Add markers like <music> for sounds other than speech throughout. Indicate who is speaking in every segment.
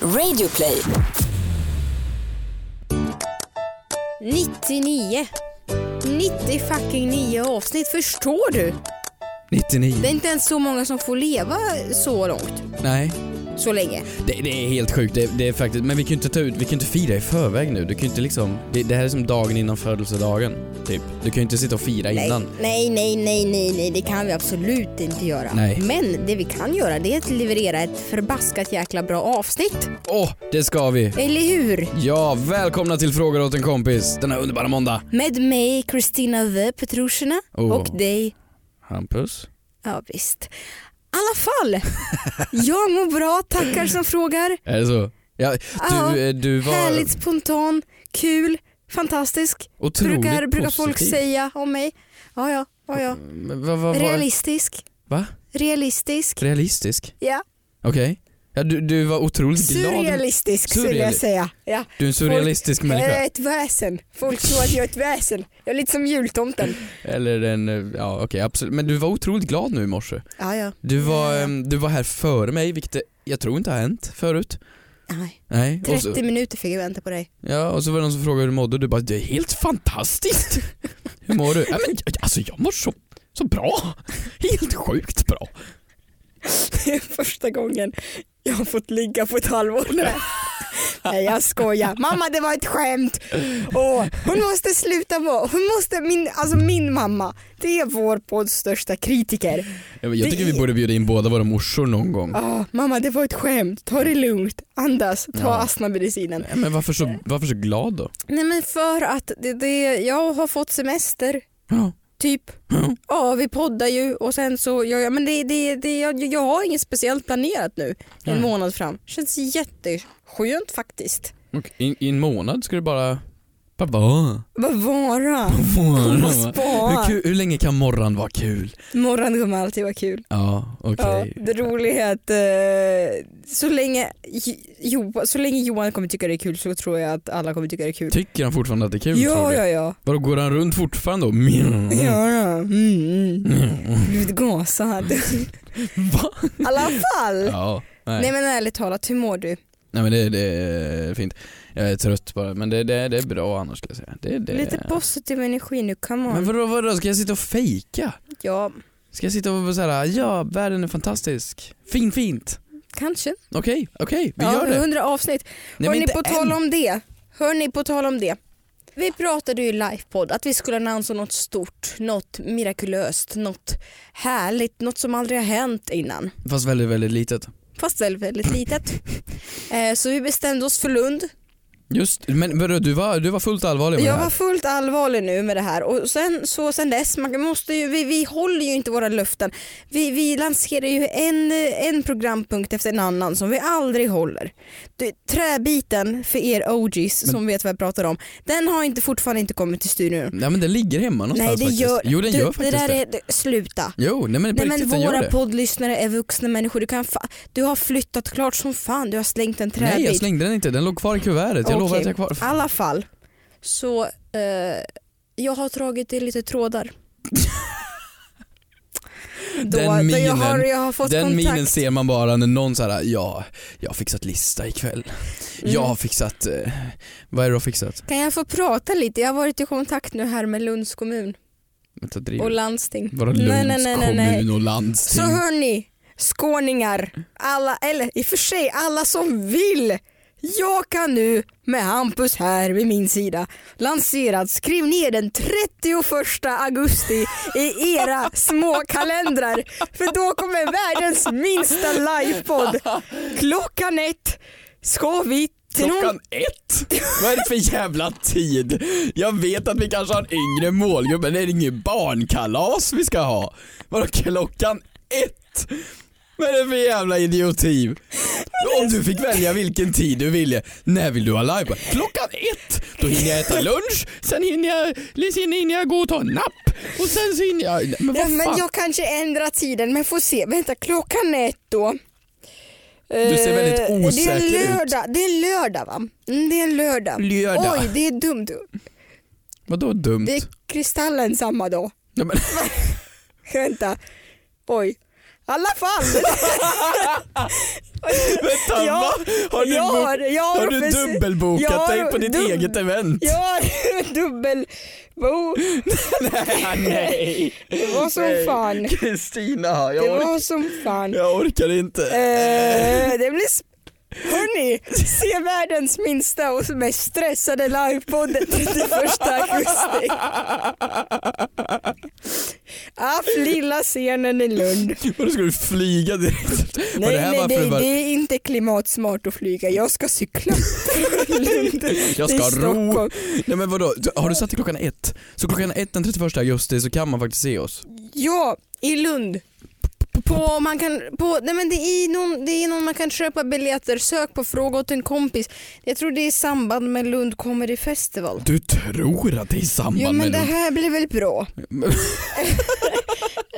Speaker 1: Radioplay.
Speaker 2: 99. 90 fucking 9 avsnitt, förstår du?
Speaker 3: 99?
Speaker 2: Det är inte ens så många som får leva så långt,
Speaker 3: Nej.
Speaker 2: så länge.
Speaker 3: Det, det är helt sjukt, det, det är faktiskt, men vi kan ju inte ta ut, vi kan ju inte fira i förväg nu. Du kan ju inte liksom, det, det här är som dagen innan födelsedagen, typ. Du kan ju inte sitta och fira innan.
Speaker 2: Nej, nej, nej, nej, nej, det kan vi absolut inte göra.
Speaker 3: Nej.
Speaker 2: Men det vi kan göra det är att leverera ett förbaskat jäkla bra avsnitt.
Speaker 3: Åh, det ska vi!
Speaker 2: Eller hur?
Speaker 3: Ja, välkomna till Frågor åt en kompis denna underbara måndag.
Speaker 2: Med mig, Kristina the Petrushina
Speaker 3: Oh.
Speaker 2: och dig,
Speaker 3: Hampus?
Speaker 2: ja visst. I alla
Speaker 3: <laughs>
Speaker 2: fall, jag mår bra, tackar som frågar.
Speaker 3: Är det så? Ja, du,
Speaker 2: Ja,
Speaker 3: eh, du var
Speaker 2: Härligt spontan, kul, fantastisk.
Speaker 3: otroligt
Speaker 2: Brukar, brukar
Speaker 3: positiv.
Speaker 2: folk säga om mig. Ja, ja, ja, ja.
Speaker 3: Men Vad vad var det?
Speaker 2: Realistisk.
Speaker 3: Va?
Speaker 2: Realistisk.
Speaker 3: Realistisk?
Speaker 2: Ja.
Speaker 3: Okej. Ja, du, du var otroligt glad.
Speaker 2: Surrealistisk skulle jag
Speaker 3: Surreali-
Speaker 2: säga. Ja.
Speaker 3: Du är en surrealistisk
Speaker 2: Jag
Speaker 3: människa.
Speaker 2: är ett väsen. Folk tror att jag är ett väsen. Jag är lite som jultomten.
Speaker 3: Eller en, eh, ja okej absolut. Men du var otroligt glad nu i morse.
Speaker 2: Ja, ja.
Speaker 3: Du var,
Speaker 2: Ja.
Speaker 3: ehm, du var här före mig, vilket det- jag tror inte har hänt förut.
Speaker 2: Nej.
Speaker 3: Nej. Och
Speaker 2: 30
Speaker 3: så,
Speaker 2: minuter fick jag vänta på dig. <laughs>
Speaker 3: ja, och så var det någon som frågade hur du mådde och du bara, det är helt
Speaker 2: <laughs>
Speaker 3: fantastiskt. hur mår du? Ja, men, jag- alltså jag mår så, så bra. Helt sjukt bra.
Speaker 2: Det är första gången jag har fått ligga på ett
Speaker 3: <laughs>
Speaker 2: halvår. Nej. Nej jag skojar. Mamma det var ett skämt. Åh, hon måste sluta vara, hon måste, min, alltså min mamma, det är vår podds största kritiker.
Speaker 3: Jag, jag
Speaker 2: Det
Speaker 3: tycker vi
Speaker 2: är-
Speaker 3: borde bjuda in båda våra morsor någon gång.
Speaker 2: Ah, mamma det var ett skämt, ta det lugnt, andas, ta
Speaker 3: Ja.
Speaker 2: astmamedicinen.
Speaker 3: Nej, men varför
Speaker 2: Eh.
Speaker 3: så, varför så glad då?
Speaker 2: Nej men för att det, det, jag har fått semester,
Speaker 3: Ja.
Speaker 2: typ.
Speaker 3: Ja.
Speaker 2: Ja vi poddar ju och sen så, gör jag, men det, det, det, jag, jag har inget speciellt planerat nu en
Speaker 3: Nej.
Speaker 2: månad fram. Känns jätteskönt faktiskt.
Speaker 3: Och I, I en månad ska du bara, bara va?
Speaker 2: Vad
Speaker 3: <laughs>
Speaker 2: vara, vad
Speaker 3: Morgon, va? Hur,
Speaker 2: spara.
Speaker 3: kul, hur länge kan morgon vara kul?
Speaker 2: Morgon kommer alltid vara kul.
Speaker 3: Ja, okej.
Speaker 2: Ja, det roliga är att eh, så, länge, jo, så länge Johan kommer tycka det är kul så tror jag att alla kommer tycka det är kul.
Speaker 3: Tycker han fortfarande att det är kul? tror
Speaker 2: Ja,
Speaker 3: du?
Speaker 2: ja, ja.
Speaker 3: Vadå, går han runt fortfarande då? Mm.
Speaker 2: Ja, ja. Mm. Blivit gasad.
Speaker 3: Va?
Speaker 2: I alla fall.
Speaker 3: Ja, nej.
Speaker 2: Nej
Speaker 3: Nej,
Speaker 2: men ärligt talat, hur mår du?
Speaker 3: men det, det är fint. Jag är trött bara, men det, det, det är bra annars ska jag säga. Det, det.
Speaker 2: Lite positiv energi nu, come on.
Speaker 3: Men vadå, vadå, ska jag sitta och fejka?
Speaker 2: Ja,
Speaker 3: Ska jag sitta och vara såhär, ja världen är fantastisk, fin fint.
Speaker 2: kanske.
Speaker 3: Okej, okej, vi
Speaker 2: ja,
Speaker 3: gör det.
Speaker 2: 100 avsnitt.
Speaker 3: men
Speaker 2: Hör ni
Speaker 3: inte
Speaker 2: på
Speaker 3: än.
Speaker 2: tal om det. Hör ni på tal om det. Vi pratade ju i livepodd att vi skulle annonsera något stort, något mirakulöst, något härligt, något som aldrig har hänt innan.
Speaker 3: Fast väldigt, väldigt litet.
Speaker 2: Fast väldigt, väldigt
Speaker 3: <laughs>
Speaker 2: litet. Eh, så vi bestämde oss för Lund.
Speaker 3: Just, men vadå, du var, du var fullt allvarlig med
Speaker 2: Jag
Speaker 3: det
Speaker 2: var
Speaker 3: här.
Speaker 2: fullt allvarlig nu med det här och sen, så sen dess, man måste ju, vi, vi håller ju inte våra löften. Vi, vi lanserar ju en, en programpunkt efter en annan som vi aldrig håller. Det, träbiten för er OGs som vet vad jag pratar om, den har inte, fortfarande inte kommit till studion.
Speaker 3: Nej men den ligger hemma någonstans
Speaker 2: Nej det
Speaker 3: faktiskt.
Speaker 2: gör,
Speaker 3: jo den
Speaker 2: du,
Speaker 3: gör faktiskt
Speaker 2: det.
Speaker 3: det.
Speaker 2: Där är, det- sluta.
Speaker 3: Jo, nej men på
Speaker 2: Nej
Speaker 3: riktigt
Speaker 2: men
Speaker 3: den gör
Speaker 2: våra
Speaker 3: det.
Speaker 2: poddlyssnare är vuxna människor. Du, kan fa- du har flyttat klart som fan, du har slängt en träbit.
Speaker 3: Nej jag slängde den inte, den låg kvar i kuvertet. Jag lovar
Speaker 2: Okej.
Speaker 3: att jag har
Speaker 2: I
Speaker 3: kvar.
Speaker 2: alla fall så eh, jag har dragit i lite
Speaker 3: <laughs>
Speaker 2: trådar. då,
Speaker 3: Den
Speaker 2: då jag,
Speaker 3: minen-
Speaker 2: har, jag har fått
Speaker 3: Den
Speaker 2: kontakt.
Speaker 3: minen ser man bara när någon såhär, ja, jag har fixat lista ikväll.
Speaker 2: Mm.
Speaker 3: Jag har fixat, eh, vad är det du har fixat?
Speaker 2: Kan jag få prata lite? Jag har varit i kontakt nu här med Lunds kommun
Speaker 3: Vänta, driver.
Speaker 2: och landsting.
Speaker 3: Vadå Lunds
Speaker 2: Nej, nej, nej, nej, nej.
Speaker 3: kommun och
Speaker 2: Så
Speaker 3: landsting?
Speaker 2: hörni, skåningar, alla, eller i och för sig alla som vill. Jag kan nu med Hampus här vid min sida lanserat skriv ner den 31 augusti i era små kalendrar för då kommer världens minsta livepodd. Klockan ett ska vi till någon
Speaker 3: Klockan ett? Vad är det för jävla tid? Jag vet att vi kanske har en yngre målgrupp men det är inget barnkalas vi ska ha. Vadå klockan ett? Vad är det för jävla idioti? Om du fick välja vilken tid du ville, när vill du ha live? Klockan ett! Då hinner jag äta lunch, sen hinner jag, sen hinner jag gå och ta en napp och sen så hinner jag... Men vad
Speaker 2: Ja,
Speaker 3: fan?
Speaker 2: men jag kanske ändrar tiden men får se. Vänta, klockan är ett då. Du
Speaker 3: ser väldigt
Speaker 2: det är
Speaker 3: osäker ut.
Speaker 2: en lördag, Det är en lördag va? Mm, Det är en lördag.
Speaker 3: Lördag.
Speaker 2: Oj, det är dumt.
Speaker 3: Vadå dumt?
Speaker 2: Det är kristallen samma dag.
Speaker 3: Ja, men... <laughs>
Speaker 2: Vänta. Oj. I alla fall.
Speaker 3: Vänta,
Speaker 2: <laughs> Ja,
Speaker 3: va? Har du,
Speaker 2: jag
Speaker 3: bo-
Speaker 2: har, jag har,
Speaker 3: har du
Speaker 2: precis-
Speaker 3: dubbelbokat
Speaker 2: jag har
Speaker 3: dig på ditt
Speaker 2: dub-
Speaker 3: eget event?
Speaker 2: Jag har <laughs> dubbelbo.
Speaker 3: Nej.
Speaker 2: Det var som
Speaker 3: Nej.
Speaker 2: fan.
Speaker 3: <laughs> Kristina, jag,
Speaker 2: Det
Speaker 3: ork-
Speaker 2: var som fan.
Speaker 3: jag orkar inte.
Speaker 2: Eh, det blir... sp- Hörni, se världens minsta och mest stressade livepodden 31 augusti. Aff, lilla scenen i Lund.
Speaker 3: Vadå, ska du flyga direkt? Var
Speaker 2: Nej,
Speaker 3: det här
Speaker 2: nej,
Speaker 3: bara för
Speaker 2: nej
Speaker 3: att bara-
Speaker 2: det är inte klimatsmart att flyga. Jag ska cykla. Lund.
Speaker 3: <laughs> Jag
Speaker 2: Det är
Speaker 3: ska ro.
Speaker 2: Stockholm.
Speaker 3: Nej men vadå, har du satt till klockan ett? Så klockan ett den 31 augusti så kan man faktiskt se oss.
Speaker 2: Ja, i Lund. På, man kan, på, nej men det, är någon, det är någon man kan köpa biljetter, sök på fråga åt en kompis. Jag tror det är i samband med Lund Comedy Festival.
Speaker 3: Du tror att det är i samband
Speaker 2: Jo men
Speaker 3: med
Speaker 2: det
Speaker 3: det?
Speaker 2: här blir väl
Speaker 3: <laughs>
Speaker 2: bra?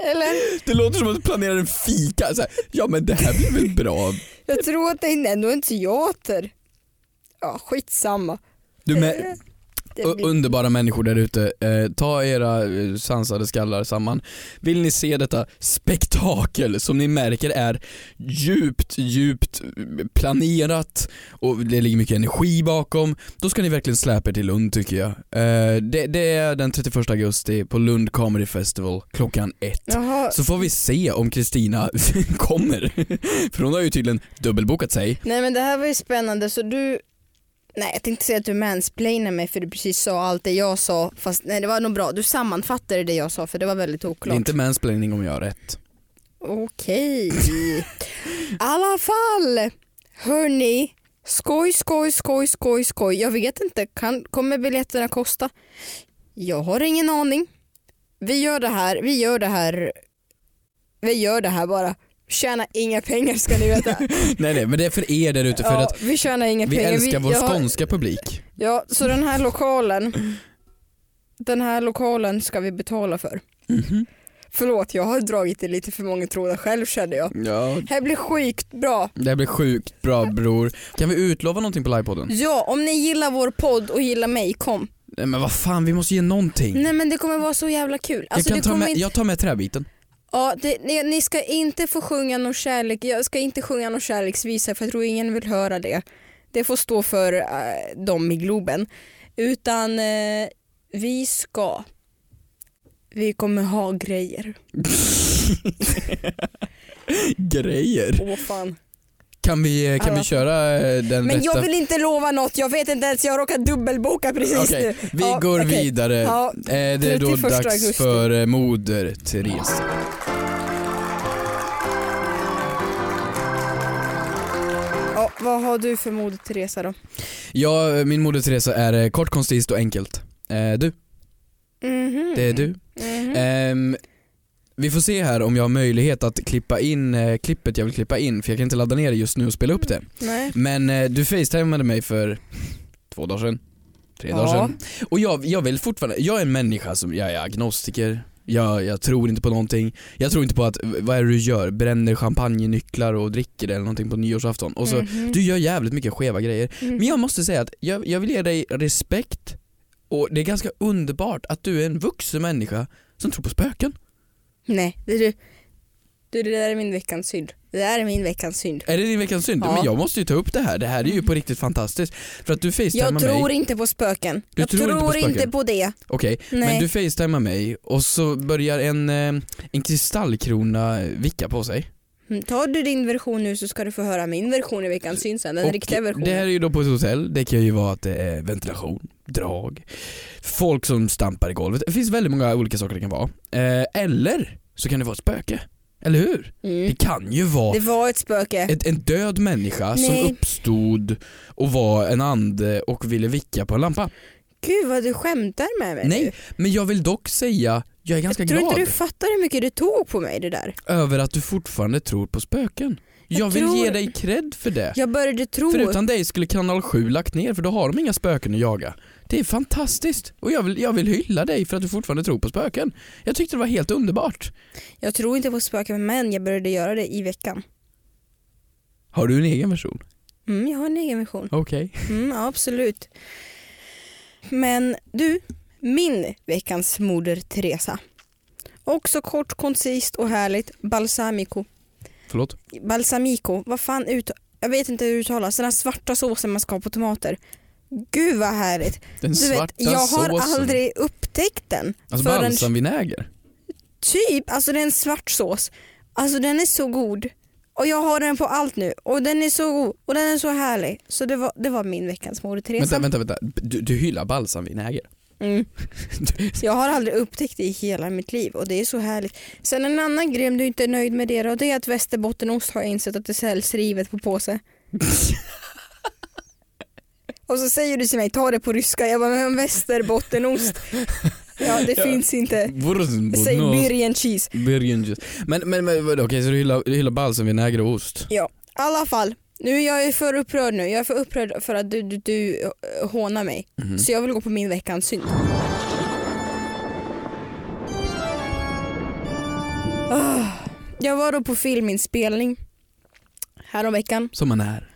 Speaker 2: Eller?
Speaker 3: Det låter som att du planerar en fika. Så här, ja men det här blir väl bra.
Speaker 2: Jag tror att det är ändå en teater. Ja, skitsamma.
Speaker 3: Du
Speaker 2: Eh,
Speaker 3: med,
Speaker 2: Det
Speaker 3: u-
Speaker 2: blir,
Speaker 3: underbara människor där ute, eh, ta era eh, sansade skallar samman. Vill ni se detta spektakel som ni märker är djupt, djupt eh, planerat och det ligger mycket energi bakom, då ska ni verkligen släpa er till Lund tycker jag. Eh, det, det är den 31 augusti på Lund Comedy Festival klockan ett.
Speaker 2: jaha,
Speaker 3: Så får vi se om Kristina <laughs> kommer. För hon har ju tydligen dubbelbokat sig.
Speaker 2: nej men det här var ju spännande så du Nej jag tänkte säga att du mansplainar mig för du precis sa allt det jag sa fast nej det var nog bra, du sammanfattade det jag sa för det var väldigt
Speaker 3: Det är
Speaker 2: oklart.
Speaker 3: inte mansplaining om jag har rätt.
Speaker 2: Okej. I alla fall. Hörni. Skoj, skoj, skoj, skoj, skoj. Jag vet inte. Kan, kommer biljetterna kosta? Jag har ingen aning. Vi gör det här. Vi gör det här. Vi gör det här bara. Tjäna inga pengar ska ni veta.
Speaker 3: Nej nej men det är <laughs> för er där ute för
Speaker 2: Ja,
Speaker 3: att
Speaker 2: vi tjänar inga
Speaker 3: vi
Speaker 2: pengar.
Speaker 3: älskar vår
Speaker 2: jag har-
Speaker 3: skånska publik.
Speaker 2: Ja, så den här lokalen. Den här lokalen ska vi betala för.
Speaker 3: Mhm.
Speaker 2: Förlåt, jag har dragit i lite för många trådar själv kände jag.
Speaker 3: Ja.
Speaker 2: Det här blir sjukt bra.
Speaker 3: Det här blir sjukt bra bror. Kan vi utlova någonting på livepodden?
Speaker 2: Ja, om ni gillar vår podd och gillar mig, kom.
Speaker 3: Nej men vad fan vi måste ge någonting.
Speaker 2: Nej men det kommer vara så jävla kul. Alltså,
Speaker 3: jag, kan
Speaker 2: det
Speaker 3: ta
Speaker 2: kommer
Speaker 3: med,
Speaker 2: inte...
Speaker 3: jag tar med träbiten.
Speaker 2: ja, det, ni, ni ska inte få sjunga någon kärlek, jag ska inte sjunga någon kärleksvisa för jag tror ingen vill höra det. Det får stå för eh, dem i Globen. Utan eh, vi ska, vi kommer ha grejer.
Speaker 3: Grejer.
Speaker 2: Åh fan.
Speaker 3: Kan vi, kan vi
Speaker 2: Alla.
Speaker 3: köra eh, den
Speaker 2: Men
Speaker 3: rätta?
Speaker 2: jag vill inte lova något, jag vet inte ens, jag har råkat dubbelboka precis
Speaker 3: Okej, eh.
Speaker 2: nu.
Speaker 3: vi
Speaker 2: Ja,
Speaker 3: går
Speaker 2: okej.
Speaker 3: vidare.
Speaker 2: Ja,
Speaker 3: Eh, Det är då
Speaker 2: 31
Speaker 3: dags
Speaker 2: augusti.
Speaker 3: för eh, Moder Therese.
Speaker 2: ja, vad har du för mod Teresa då?
Speaker 3: Ja, eh, min Moder Teresa är eh, kort, koncist och enkelt. Eh, Du,
Speaker 2: Mhm.
Speaker 3: det är du.
Speaker 2: Mhm.
Speaker 3: Ehm, vi får se här om jag har möjlighet att klippa in eh, klippet jag vill klippa in för jag kan inte ladda ner det just nu och spela upp det.
Speaker 2: Nej.
Speaker 3: Men eh, du facetimade mig för två dagar sedan, tre dagar
Speaker 2: Ja.
Speaker 3: sedan. Och jag, jag vill fortfarande, jag är en människa som, jag är agnostiker, jag, jag tror inte på någonting. Jag tror inte på att, vad är det du gör? Bränner champagnenycklar och dricker det eller någonting på nyårsafton. Och så,
Speaker 2: Mhm.
Speaker 3: du gör jävligt mycket skeva grejer.
Speaker 2: Mhm.
Speaker 3: Men jag måste säga att jag, jag vill ge dig respekt och det är ganska underbart att du är en vuxen människa som tror på spöken.
Speaker 2: Nej, det är du. Du, det där är min veckans synd. Det där är min veckans synd.
Speaker 3: Är det din veckans synd?
Speaker 2: Ja. Mm.
Speaker 3: Men jag måste ju ta upp det här, det här är ju på riktigt fantastiskt. För att du facetimar
Speaker 2: Jag tror
Speaker 3: mig,
Speaker 2: inte på spöken.
Speaker 3: Du
Speaker 2: jag
Speaker 3: tror inte på spöken?
Speaker 2: inte på det.
Speaker 3: okej, men
Speaker 2: Nej.
Speaker 3: du facetimar mig och så börjar en, eh, en kristallkrona vicka på sig.
Speaker 2: Mm, Tar du din version nu så ska du få höra min version i veckans synd sen. Den
Speaker 3: Och
Speaker 2: riktiga versionen.
Speaker 3: Det här är ju då på ett hotell, det kan ju vara att det är ventilation, drag, folk som stampar i golvet. Det finns väldigt många olika saker det kan vara. Eh, eller så kan det vara ett spöke, eller hur?
Speaker 2: Mm.
Speaker 3: Det kan ju vara
Speaker 2: Det var ett spöke.
Speaker 3: ett, en död människa
Speaker 2: Nej.
Speaker 3: som uppstod och var en ande och ville vicka på en lampa.
Speaker 2: Gud vad du skämtar med mig nu.
Speaker 3: Nej, men jag vill dock säga, jag är ganska
Speaker 2: Tror
Speaker 3: glad
Speaker 2: inte du fattar hur mycket du tog på mig det där?
Speaker 3: över att du fortfarande tror på spöken. Jag,
Speaker 2: Jag
Speaker 3: vill ge
Speaker 2: tror-
Speaker 3: dig cred för det.
Speaker 2: Jag började tro...
Speaker 3: För utan dig skulle kanal 7 lagt ner för då har de inga spöken att jaga. Det är fantastiskt och jag vill, jag vill hylla dig för att du fortfarande tror på spöken. Jag tyckte det var helt underbart.
Speaker 2: Jag tror inte på spöken men jag började göra det i veckan.
Speaker 3: Har du en egen version?
Speaker 2: Mm, jag har en egen version.
Speaker 3: Okej.
Speaker 2: Mm, ja, absolut. Men du, min veckans moder Teresa. Också kort, koncist och härligt. Balsamico.
Speaker 3: Förlåt?
Speaker 2: Balsamico, vad fan ut... jag vet inte hur det uttalas, den här svarta såsen man ska ha på tomater. Gud vad härligt.
Speaker 3: Den
Speaker 2: Du
Speaker 3: svarta
Speaker 2: vet, jag har
Speaker 3: såsen.
Speaker 2: aldrig upptäckt den.
Speaker 3: Alltså
Speaker 2: förrän-
Speaker 3: balsamvinäger.
Speaker 2: Typ, alltså det är en svart sås. Alltså den är så god. Och jag har den på allt nu. Och den är så god. Och den är så härlig. Så det var, det var min veckans moderteresa.
Speaker 3: Vänta, vänta, vänta. Du, du hyllar balsamvinäger?
Speaker 2: Mm.
Speaker 3: Du-
Speaker 2: Jag har aldrig upptäckt det i hela mitt liv och det är så härligt. Sen en annan grej om du inte är nöjd med det då, det är att västerbottenost har jag insett att det säljs rivet på påse. och så säger du till mig, ta det på ryska. Jag bara, men västerbottenost. ja det
Speaker 3: Ja.
Speaker 2: finns inte. Säg
Speaker 3: Wurzenbrot,
Speaker 2: birgen cheese.
Speaker 3: Birgenjus. Men, men, men vadå, okej så du hyllar, du hyllar balsamvinäger och ost?
Speaker 2: Ja, i alla fall. Nu är jag för upprörd nu. Jag är för upprörd för att du, du, du eh, hånar mig.
Speaker 3: Mhm.
Speaker 2: Så jag vill gå på min veckans synd. Ah, Jag var då på filminspelning häromveckan.
Speaker 3: Som man är.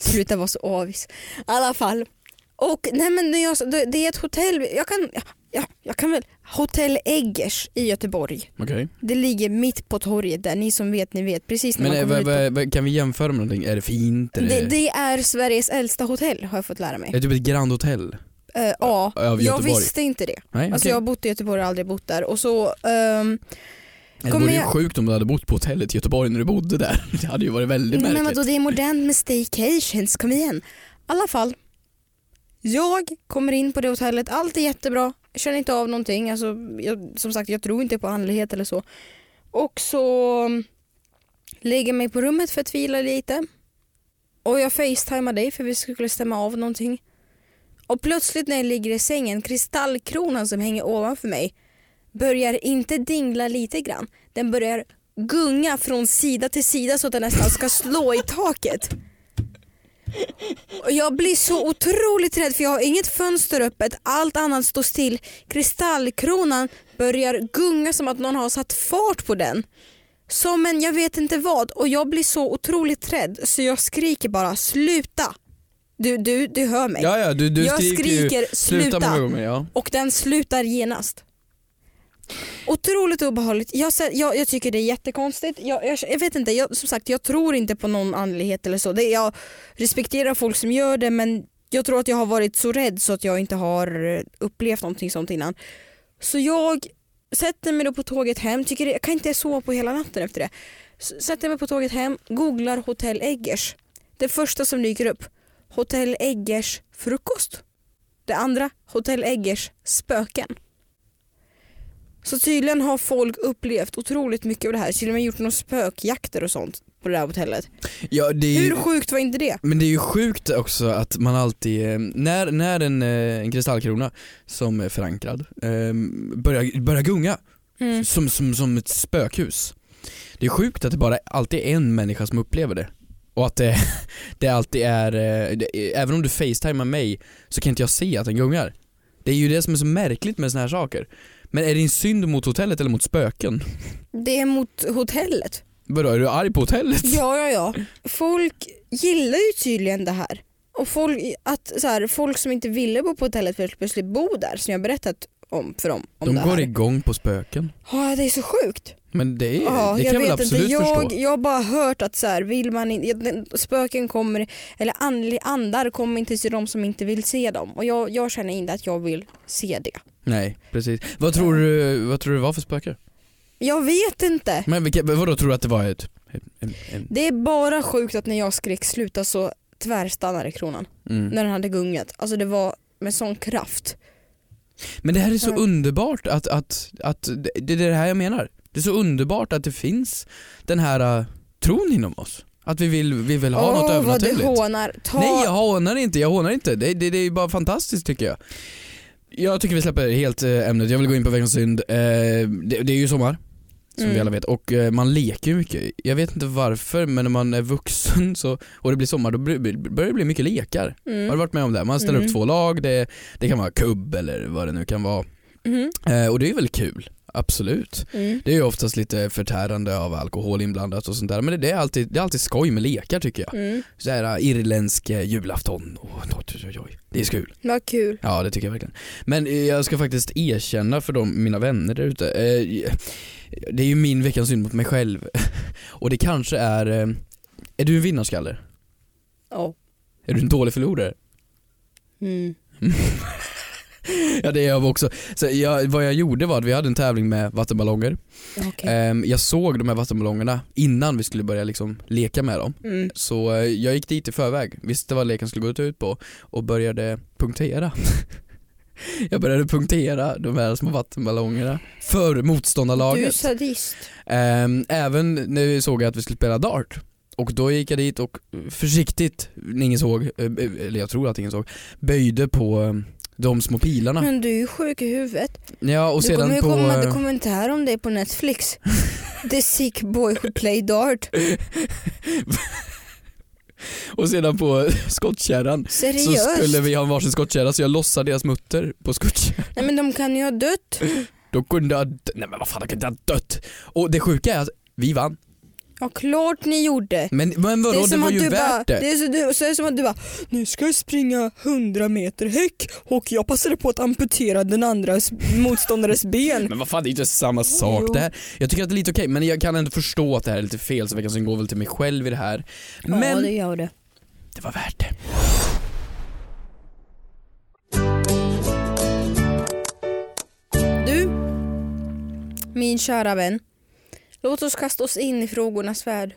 Speaker 2: Sluta vara så avis. I alla fall. Och nej men det är, det- det är ett hotell, jag kan, ja, jag kan väl, Hotell Eggers i Göteborg.
Speaker 3: Okej.
Speaker 2: Det ligger mitt på torget där, ni som vet ni vet. Precis när
Speaker 3: Men
Speaker 2: man
Speaker 3: eh,
Speaker 2: kommer
Speaker 3: vad-
Speaker 2: ut på
Speaker 3: vad- vad- kan vi jämföra med någonting? Är det fint? Är det,
Speaker 2: Det, det är Sveriges äldsta hotell har jag fått lära mig.
Speaker 3: Är det typ ett Grand Hotel?
Speaker 2: Eh, ja,
Speaker 3: Av
Speaker 2: jag
Speaker 3: Göteborg?
Speaker 2: visste inte det.
Speaker 3: Nej,
Speaker 2: Alltså
Speaker 3: okej.
Speaker 2: jag har bott i Göteborg och aldrig bott där. Och så, ehm,
Speaker 3: Det
Speaker 2: kommer
Speaker 3: vore ju
Speaker 2: jag-
Speaker 3: sjukt om du hade bott på hotellet i Göteborg när du bodde där. <laughs> Det hade ju varit väldigt
Speaker 2: men
Speaker 3: märkligt.
Speaker 2: vadå det är modernt med staycations, kom igen. I alla fall, jag kommer in på det hotellet, allt är jättebra. Jag känner inte av någonting, alltså, jag, som sagt jag tror inte på andlighet eller så. Och så mm, lägger jag mig på rummet för att vila lite. Och jag facetimar dig för vi skulle stämma av någonting. Och plötsligt när jag ligger i sängen, kristallkronan som hänger ovanför mig börjar inte dingla lite grann. Den börjar gunga från sida till sida så att den nästan ska slå i taket. Och jag blir så otroligt rädd för jag har inget fönster öppet, allt annat står still. Kristallkronan börjar gunga som att någon har satt fart på den. Som en jag vet inte vad och jag blir så otroligt rädd så jag skriker bara sluta. Du, du, du hör mig.
Speaker 3: Ja, ja, du, du
Speaker 2: Jag
Speaker 3: ju,
Speaker 2: skriker,
Speaker 3: sluta
Speaker 2: "Sluta!"
Speaker 3: många gånger. Ja.
Speaker 2: Och den slutar genast. Otroligt obehagligt. Jag, sä- jag, jag tycker det är jättekonstigt. Jag, jag, jag vet inte, jag, som sagt jag tror inte på någon andlighet eller så. Det, jag respekterar folk som gör det men jag tror att jag har varit så rädd så att jag inte har eh, upplevt någonting sånt innan. Så jag sätter mig då på tåget hem, tycker det, jag kan inte sova på hela natten efter det. S- Sätter mig på tåget hem, googlar hotell Eggers. Det första som dyker upp, hotell Eggers frukost. Det andra, Hotell Eggers spöken. Så tydligen har folk upplevt otroligt mycket av det här. Till och med gjort några spökjakter och sånt på det här hotellet.
Speaker 3: Ja, det är ju...
Speaker 2: Hur sjukt var inte det?
Speaker 3: Men det är ju sjukt också att man alltid, eh, när, när en, eh, en kristallkrona som är förankrad eh, börjar, börjar gunga
Speaker 2: Mm.
Speaker 3: som, som, som ett spökhus. Det är sjukt att det bara alltid är en människa som upplever det. Och att det, <laughs> det alltid är, eh, det, även om du facetimar mig så kan inte jag se att den gungar. Det är ju det som är så märkligt med såna här saker. Men är det en synd mot hotellet eller mot spöken?
Speaker 2: Det är mot hotellet.
Speaker 3: Vadå, är du arg på hotellet?
Speaker 2: Ja, ja, ja. Folk gillar ju tydligen det här. Och folk, att, så här, folk som inte ville bo på hotellet helt plötsligt bo där som jag berättat om för dem. Om
Speaker 3: De
Speaker 2: det
Speaker 3: går
Speaker 2: här.
Speaker 3: igång på spöken.
Speaker 2: Ja, det är så sjukt.
Speaker 3: Men det, är,
Speaker 2: Ja,
Speaker 3: det kan
Speaker 2: jag
Speaker 3: jag väl
Speaker 2: vet
Speaker 3: absolut
Speaker 2: inte. Jag,
Speaker 3: förstå.
Speaker 2: jag har bara hört att så här, vill man in, ja, den- spöken kommer, eller andlig- andar kommer inte till de som inte vill se dem. Och jag, jag känner inte att jag vill se det.
Speaker 3: Nej, precis. Vad tror du, vad tror du det var för spöke?
Speaker 2: Jag vet inte.
Speaker 3: Men vilka, vadå tror du att det var ett... En, en,
Speaker 2: Det är bara sjukt att när jag skrek sluta så tvärstannade kronan.
Speaker 3: mm.
Speaker 2: När den hade gungat. Alltså det var med sån kraft.
Speaker 3: Men det här är så
Speaker 2: Mm.
Speaker 3: underbart att, att, att det, det är det här jag menar. Det är så underbart att det finns den här äh, tron inom oss. Att vi vill, vi vill ha något
Speaker 2: Åh, vad du
Speaker 3: övernaturligt.
Speaker 2: hånar. Ta...
Speaker 3: Nej jag hånar inte, jag hånar inte. Det, det, det är bara fantastiskt tycker jag. Jag tycker vi släpper helt eh, ämnet, jag vill gå in på veckans synd. Eh, det, det är ju sommar, som
Speaker 2: Mm.
Speaker 3: vi alla vet, och eh, man leker ju mycket. Jag vet inte varför men när man är vuxen <laughs> så, och det blir sommar då blir- blir- börjar det bli mycket lekar.
Speaker 2: Mm.
Speaker 3: Har du varit med om det? Man ställer
Speaker 2: Mm.
Speaker 3: upp två lag, det, det kan vara kubb eller vad det nu kan vara.
Speaker 2: Mhm.
Speaker 3: Eh, och det är ju väldigt kul. absolut.
Speaker 2: Mm.
Speaker 3: Det är ju oftast lite förtärande av alkohol inblandat och sånt där. Men det- det är alltid, det är alltid skoj med lekar tycker jag.
Speaker 2: Mm.
Speaker 3: Så här, äh, irländsk eh, julafton. Oh, oj, oj, oj. Det är så kul.
Speaker 2: Vad kul.
Speaker 3: Ja det tycker jag verkligen. Men eh, jag ska faktiskt erkänna för de, mina vänner där ute. Eh, det är ju min veckans synd mot mig själv. <laughs> Och det kanske är, eh, är du en vinnarskalle?
Speaker 2: Ja.
Speaker 3: Är du en dålig förlorare?
Speaker 2: Mm.
Speaker 3: Ja det är jag också. Så jag, vad jag gjorde var att vi hade en tävling med vattenballonger.
Speaker 2: Okej.
Speaker 3: Ehm, jag såg de här vattenballongerna innan vi skulle börja liksom leka med dem.
Speaker 2: Mm.
Speaker 3: Så eh, jag gick dit i förväg, visste vad leken skulle gå ut på och började punktera. <laughs> jag började punktera de här små vattenballongerna för
Speaker 2: Du är
Speaker 3: motståndarlaget.
Speaker 2: sadist.
Speaker 3: Ehm, Även när vi såg att vi skulle spela dart. Och då gick jag dit och försiktigt, ingen såg, eh, eller jag tror att ingen såg, böjde på eh, de små pilarna.
Speaker 2: Men du är ju sjuk i huvudet.
Speaker 3: Ja och
Speaker 2: du
Speaker 3: sedan
Speaker 2: kommer ju
Speaker 3: på...
Speaker 2: komma
Speaker 3: eh,
Speaker 2: en dokumentär om dig på
Speaker 3: <laughs>
Speaker 2: Netflix. The sick boy who play dart.
Speaker 3: Och sedan på <laughs> skottkärran så
Speaker 2: Seriöst?
Speaker 3: skulle vi ha varsin skottkärra så jag lossade deras mutter på skottkärran.
Speaker 2: Nej men de kan ju ha dött.
Speaker 3: Då kunde jag, dö- nej men vad fan jag kunde ha dött. Och det sjuka är att vi vann.
Speaker 2: Ja klart ni gjorde.
Speaker 3: Men, men vadå det,
Speaker 2: som
Speaker 3: var
Speaker 2: att
Speaker 3: ju
Speaker 2: du
Speaker 3: värt
Speaker 2: bara,
Speaker 3: det.
Speaker 2: det är så, du, så är det som att du bara, nu ska jag springa 100 meter häck och jag passade på att amputera den andra motståndares ben.
Speaker 3: Men vad fan det är ju inte samma sak.
Speaker 2: Jo.
Speaker 3: Det här, jag tycker att det är lite okej men jag kan ändå förstå att det här är lite fel så veckans går väl till mig själv i det här. <laughs> Men
Speaker 2: Ja det gör det.
Speaker 3: det var värt det.
Speaker 2: Du, min kära vän. Låt oss kasta oss in i frågornas värld.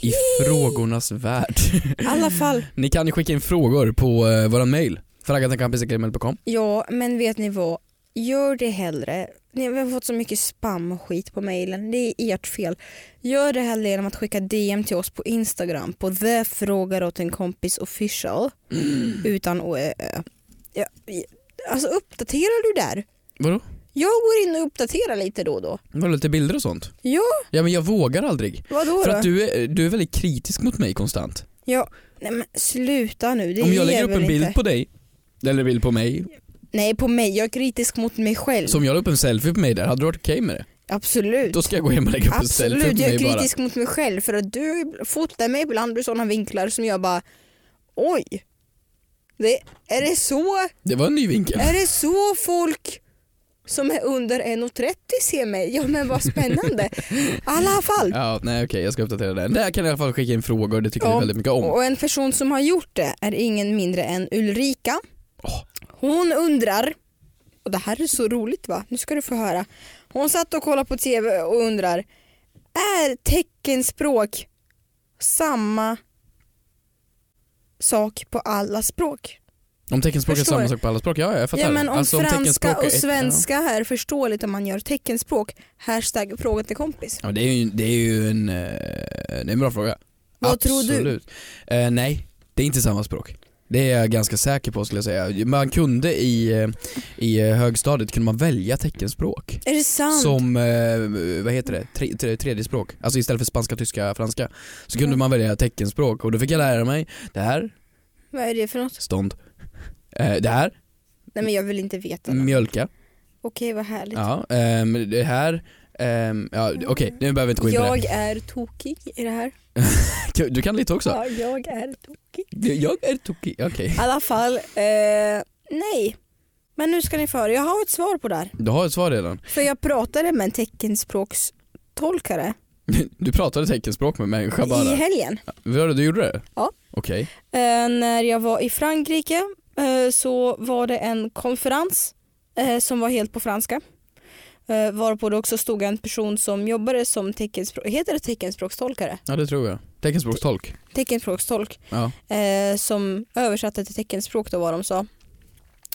Speaker 3: I frågornas värld.
Speaker 2: I alla fall,
Speaker 3: Ni kan ju skicka in frågor på uh, våran mail. Fraggatankampisgmail.com
Speaker 2: ja men vet ni vad? Gör det hellre. Ni har fått så mycket spam och skit på mailen. Det är ert fel. Gör det hellre genom att skicka DM till oss på Instagram på the frågar åt en kompis official.
Speaker 3: Mm.
Speaker 2: Utan å, ö, ö. Ja, i- Alltså uppdaterar du där?
Speaker 3: Vadå?
Speaker 2: Jag går in och uppdaterar lite då och då.
Speaker 3: Var det lite bilder och sånt?
Speaker 2: Ja,
Speaker 3: Ja men jag vågar aldrig.
Speaker 2: vadå
Speaker 3: För
Speaker 2: då?
Speaker 3: att du är, du är väldigt kritisk mot mig konstant.
Speaker 2: Ja, nej men sluta nu. Det
Speaker 3: Om jag
Speaker 2: ger
Speaker 3: lägger upp
Speaker 2: väl
Speaker 3: en bild
Speaker 2: inte.
Speaker 3: på dig, eller bild på mig,
Speaker 2: Nej på mig, jag är kritisk mot mig själv.
Speaker 3: så om jag la upp en selfie på mig där, hade du varit okej med det?
Speaker 2: Absolut.
Speaker 3: Då ska jag gå hem och lägga upp en selfie
Speaker 2: Absolut,
Speaker 3: på
Speaker 2: jag
Speaker 3: mig
Speaker 2: är
Speaker 3: bara.
Speaker 2: kritisk mot mig själv för att du fotar mig ibland ur sådana vinklar som jag bara oj. Det, är, det så,
Speaker 3: Det var en ny vinkel.
Speaker 2: är det så folk som är under 1,30 ser mig? Ja men vad spännande. I alla fall.
Speaker 3: Ja, nej okej jag ska uppdatera den. Där kan jag i alla fall skicka in frågor, det tycker
Speaker 2: Ja.
Speaker 3: vi väldigt mycket om.
Speaker 2: Och en person som har gjort det är ingen mindre än Ulrika.
Speaker 3: Åh.
Speaker 2: Hon undrar, och det här är så roligt va, nu ska du få höra. Hon satt och kollade på TV och undrar, är teckenspråk samma sak på alla språk?
Speaker 3: Om teckenspråk
Speaker 2: Förstår.
Speaker 3: är samma sak på alla språk, ja jag fattar.
Speaker 2: Ja men om
Speaker 3: Alltså,
Speaker 2: franska
Speaker 3: teckenspråk är
Speaker 2: och
Speaker 3: ett-
Speaker 2: svenska är förståeligt om man gör teckenspråk, hashtag fråga till kompis.
Speaker 3: Ja, Ja, det, är ju, det är ju en, eh, det är en bra fråga.
Speaker 2: Vad tror du?
Speaker 3: Absolut. Eh, nej, det är inte samma språk. Det är jag ganska säker på skulle jag säga. Man kunde i, eh, i eh, högstadiet kunde man välja teckenspråk.
Speaker 2: Är det sant?
Speaker 3: Som, eh, vad heter det, tre, tre, tredje språk. Alltså istället för spanska, tyska, franska. Så kunde
Speaker 2: Mm.
Speaker 3: man välja teckenspråk och då fick jag lära mig det här,
Speaker 2: Vad är det för något?
Speaker 3: stånd. Eh, det här,
Speaker 2: Nej men jag vill inte veta. det.
Speaker 3: mjölka.
Speaker 2: Okej vad härligt.
Speaker 3: Mm. Ja, ehm, det här, ehm, ja, okej nu behöver vi inte gå in på
Speaker 2: Mm. Jag är tokig i det här.
Speaker 3: det. Du kan lite också.
Speaker 2: Ja, jag är tokig.
Speaker 3: Jag är tokig, okej.
Speaker 2: I alla fall, eh, nej. Men nu ska ni få höra, jag har ett svar på det här.
Speaker 3: Du har ett svar redan.
Speaker 2: För jag pratade med en teckenspråkstolkare
Speaker 3: Du pratade teckenspråk med en människa
Speaker 2: i
Speaker 3: bara.
Speaker 2: helgen.
Speaker 3: Var det du gjorde det?
Speaker 2: Ja.
Speaker 3: Okej.
Speaker 2: Eh, när jag var i Frankrike eh, så var det en konferens eh, som var helt på franska. Eh, varpå det också stod en person som jobbade som teckenspråk, heter det teckenspråkstolkare?
Speaker 3: Ja det tror jag. Teckenspråkstolk.
Speaker 2: Teckenspråkstolk.
Speaker 3: Ja.
Speaker 2: eh, som översatte till teckenspråk då vad de sa.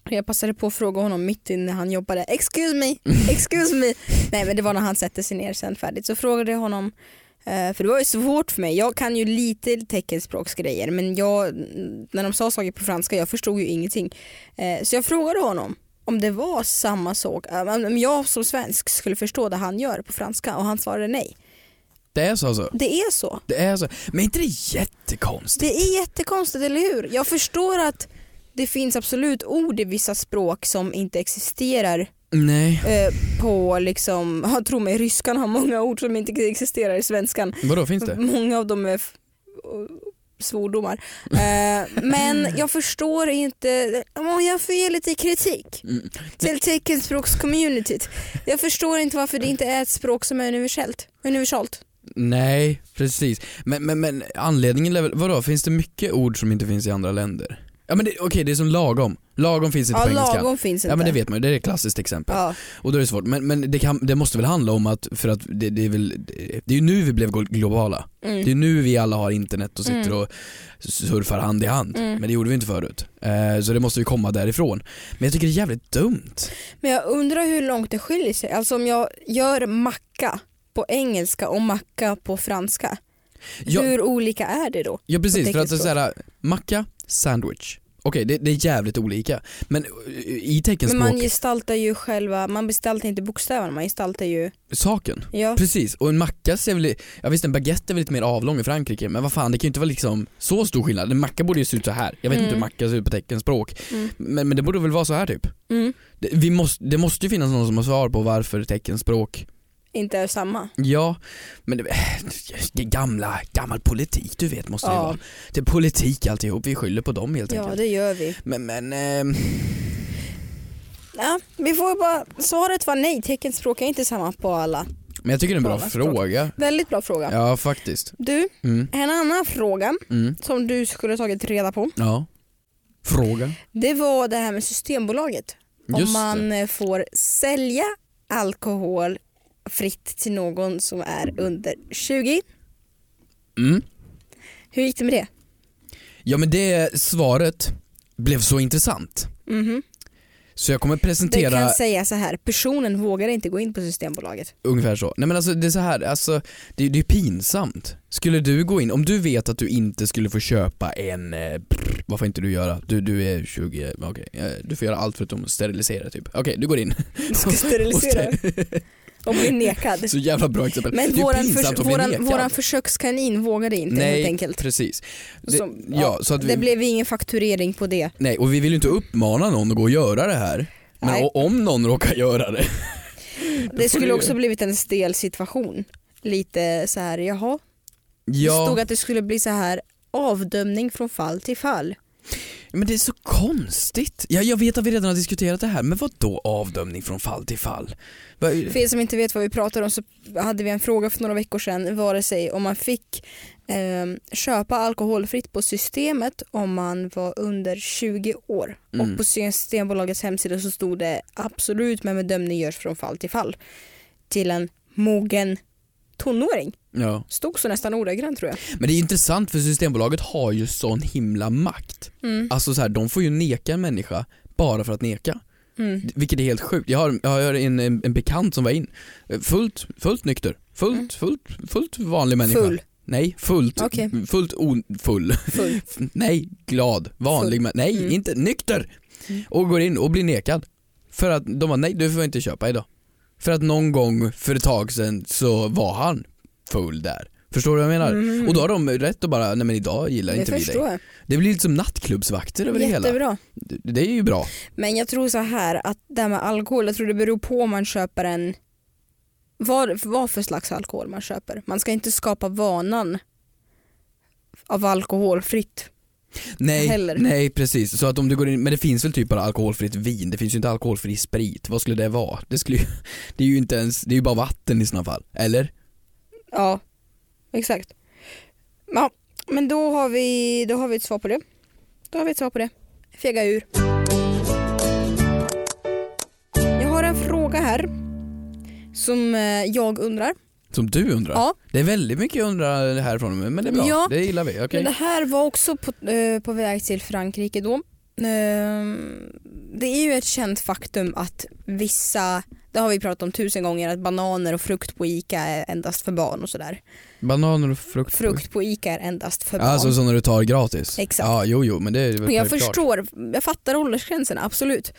Speaker 2: Jag passade på att fråga honom mitt i när han jobbade, excuse me, excuse me. Nej men det var när han sätter sig ner sen färdigt. Så frågade jag honom, eh, för det var ju svårt för mig, jag kan ju lite teckenspråksgrejer men jag, när de sa saker på franska, jag förstod ju ingenting. Eh, så jag frågade honom om det var samma sak, eh, om jag som svensk skulle förstå det han gör på franska och han svarade nej.
Speaker 3: Det är så alltså.
Speaker 2: Det är så.
Speaker 3: Det är så. Men är inte det jättekonstigt?
Speaker 2: Det är jättekonstigt, eller hur? Jag förstår att det finns absolut ord i vissa språk som inte existerar
Speaker 3: Nej.
Speaker 2: eh, på liksom, <laughs> ja, tro mig ryskan har många ord som inte existerar i svenskan.
Speaker 3: Vadå, finns det?
Speaker 2: Många av dem är f- och- svordomar. Eh,
Speaker 3: <laughs>
Speaker 2: men jag förstår inte, om jag får ge lite kritik
Speaker 3: Mm.
Speaker 2: till teckenspråkscommunityt. Jag förstår inte varför det inte är ett språk som är universellt. universalt.
Speaker 3: Nej, precis. Men, men, men anledningen är väl, vadå, finns det mycket ord som inte finns i andra länder? Ja men det- okej, det är som lagom. Lagom finns inte
Speaker 2: Ja,
Speaker 3: på engelska.
Speaker 2: lagom finns inte.
Speaker 3: Ja men det vet man ju, det är ett klassiskt exempel.
Speaker 2: Ja.
Speaker 3: Och då är det svårt. Men, men det, kan, det måste väl handla om att, för att det, det är väl, det, det är ju nu vi blev glo- globala.
Speaker 2: Mm.
Speaker 3: Det är nu vi alla har internet och sitter
Speaker 2: Mm.
Speaker 3: och surfar hand i hand.
Speaker 2: Mm.
Speaker 3: Men det gjorde vi inte förut. Eh, så det måste vi komma därifrån. Men jag tycker det är jävligt dumt.
Speaker 2: Men jag undrar hur långt det skiljer sig. Alltså om jag gör macka på engelska och macka på franska.
Speaker 3: Jag,
Speaker 2: Hur olika är det då?
Speaker 3: Ja precis, för att det är
Speaker 2: teckenspråk.
Speaker 3: såhär, macka, sandwich. Okej, det, det är jävligt olika. Men eh, i
Speaker 2: Men
Speaker 3: teckenspråk,
Speaker 2: man gestaltar ju själva, man gestaltar inte bokstäverna, man gestaltar ju,
Speaker 3: saken.
Speaker 2: ja.
Speaker 3: Precis, och en macka ser väl, ja visst en baguette är väl lite mer avlång i Frankrike, men vad fan det kan ju inte vara liksom så stor skillnad. En macka borde ju se ut så här. jag vet inte hur
Speaker 2: Mm.
Speaker 3: macka ser ut på teckenspråk.
Speaker 2: Mm.
Speaker 3: Men, men det borde väl vara så här typ.
Speaker 2: Mm.
Speaker 3: Det, vi måste, det måste ju finnas någon som har svar på varför teckenspråk,
Speaker 2: Inte är samma.
Speaker 3: ja, men det, <sighs> det är gamla, gammal politik du vet måste det
Speaker 2: Ja.
Speaker 3: vara. Det är politik alltihop, vi skyller på dem helt
Speaker 2: Ja
Speaker 3: enkelt.
Speaker 2: det gör vi.
Speaker 3: Men, men ehm,
Speaker 2: Ja, vi får bara, svaret var nej, teckenspråk är inte samma på alla.
Speaker 3: Men jag tycker det är en bra
Speaker 2: Talas klart.
Speaker 3: fråga.
Speaker 2: Väldigt bra fråga.
Speaker 3: Ja, faktiskt.
Speaker 2: Du,
Speaker 3: Mm,
Speaker 2: en annan fråga
Speaker 3: mm,
Speaker 2: som du skulle ha tagit reda på.
Speaker 3: ja. Fråga.
Speaker 2: Det var det här med Systembolaget. Om
Speaker 3: Just
Speaker 2: man
Speaker 3: det.
Speaker 2: eh, får sälja alkohol fritt till någon som är under 20.
Speaker 3: Mm.
Speaker 2: Hur gick det med det?
Speaker 3: Ja men det svaret blev så intressant.
Speaker 2: Mhm.
Speaker 3: Så jag kommer
Speaker 2: Du
Speaker 3: presentera
Speaker 2: kan säga så här, personen vågar inte gå in på
Speaker 3: <laughs>
Speaker 2: Systembolaget.
Speaker 3: ungefär så. Nej men alltså det är så här, alltså det, det är pinsamt. Skulle du gå in, om du vet att du inte skulle få köpa en, eh, brr, vad får inte du göra? Du, du är 20, okej, eh, du får göra allt förutom att sterilisera typ. Okej, du
Speaker 2: <laughs>
Speaker 3: går in.
Speaker 2: Du ska sterilisera och bli nekad.
Speaker 3: så jävla bra exempel.
Speaker 2: Men
Speaker 3: det är
Speaker 2: våran,
Speaker 3: pinsamt
Speaker 2: förs-
Speaker 3: att bli
Speaker 2: våran,
Speaker 3: nekad.
Speaker 2: våran försökskanin vågade inte
Speaker 3: Nej,
Speaker 2: helt enkelt.
Speaker 3: precis. Det,
Speaker 2: Som-
Speaker 3: ja, så att vi,
Speaker 2: Det blev ingen fakturering på det.
Speaker 3: Nej, och vi vill ju inte uppmana någon att gå och göra det här. Men
Speaker 2: Nej.
Speaker 3: o- om någon råkar göra det.
Speaker 2: Det skulle
Speaker 3: du-
Speaker 2: också blivit en stel situation. Lite så här, jaha. Det
Speaker 3: Ja,
Speaker 2: stod att det skulle bli så här avdömning från fall till fall.
Speaker 3: men det är så konstigt. Ja, jag vet att vi redan har diskuterat det här, men vad då avdömning från fall till fall? Va-
Speaker 2: För er som inte vet vad vi pratar om så hade vi en fråga för några veckor sedan vare sig om man fick eh, köpa alkoholfritt på systemet om man var under 20 år.
Speaker 3: Mm.
Speaker 2: Och på Systembolagets hemsida så stod det absolut men bedömning görs från fall till fall. Till en mogen tonåring.
Speaker 3: Ja.
Speaker 2: Stod så nästan ordagrant tror jag.
Speaker 3: Men det är intressant för Systembolaget har ju sån himla makt.
Speaker 2: Mm.
Speaker 3: Alltså så här, de får ju neka en människa bara för att neka.
Speaker 2: Mm.
Speaker 3: Vilket är helt sjukt. Jag har, jag har en, en, en bekant som var in, fullt, fullt nykter,
Speaker 2: Mm.
Speaker 3: fullt, fullt, fullt vanlig människa.
Speaker 2: Full,
Speaker 3: Nej, fullt,
Speaker 2: Okej.
Speaker 3: fullt
Speaker 2: full.
Speaker 3: ofull. Nej, glad, vanlig men Nej,
Speaker 2: Mm.
Speaker 3: inte nykter.
Speaker 2: Mm.
Speaker 3: Och går in och blir nekad. För att de var nej du får inte köpa idag. För att någon gång för ett tag sedan så var han full där. Förstår du vad jag menar?
Speaker 2: Mm.
Speaker 3: Och då har de rätt att bara, nej men idag gillar
Speaker 2: Det
Speaker 3: inte vi dig.
Speaker 2: förstår jag.
Speaker 3: Det blir lite som nattklubbsvakter över det hela.
Speaker 2: Jättebra.
Speaker 3: Det det är ju bra.
Speaker 2: Men jag tror så här att det här med alkohol, jag tror det beror på om man köper en vad, vad för slags alkohol man köper. Man ska inte skapa vanan av alkoholfritt.
Speaker 3: Nej,
Speaker 2: Heller.
Speaker 3: nej precis. Så att om du går in, men det finns väl typ bara alkoholfritt vin, det finns ju inte alkoholfri sprit. Vad skulle det vara? Det, skulle, ju- <laughs> det är ju inte ens, det är ju bara vatten i sådana fall. Eller?
Speaker 2: Ja, exakt. Ja, men då har vi, då har vi ett svar på det. Då har vi ett svar på det. Fega ur. Jag har en fråga här som eh, jag undrar.
Speaker 3: Som du undrar?
Speaker 2: Ja.
Speaker 3: Det är väldigt mycket jag undrar härifrån men det är bra,
Speaker 2: Ja.
Speaker 3: det gillar vi. Okej.
Speaker 2: Men det här var också på, eh, på väg till Frankrike då. Ehm, det är ju ett känt faktum att vissa, det har vi pratat om tusen gånger, att bananer och frukt på ICA är endast för barn och sådär.
Speaker 3: Bananer och frukt.
Speaker 2: Frukt på ICA är endast för barn.
Speaker 3: Alltså sådana du tar gratis?
Speaker 2: Exakt.
Speaker 3: Ja, jo, jo, men det är väl
Speaker 2: Och jag
Speaker 3: självklart.
Speaker 2: förstår, jag fattar åldersgränserna, absolut.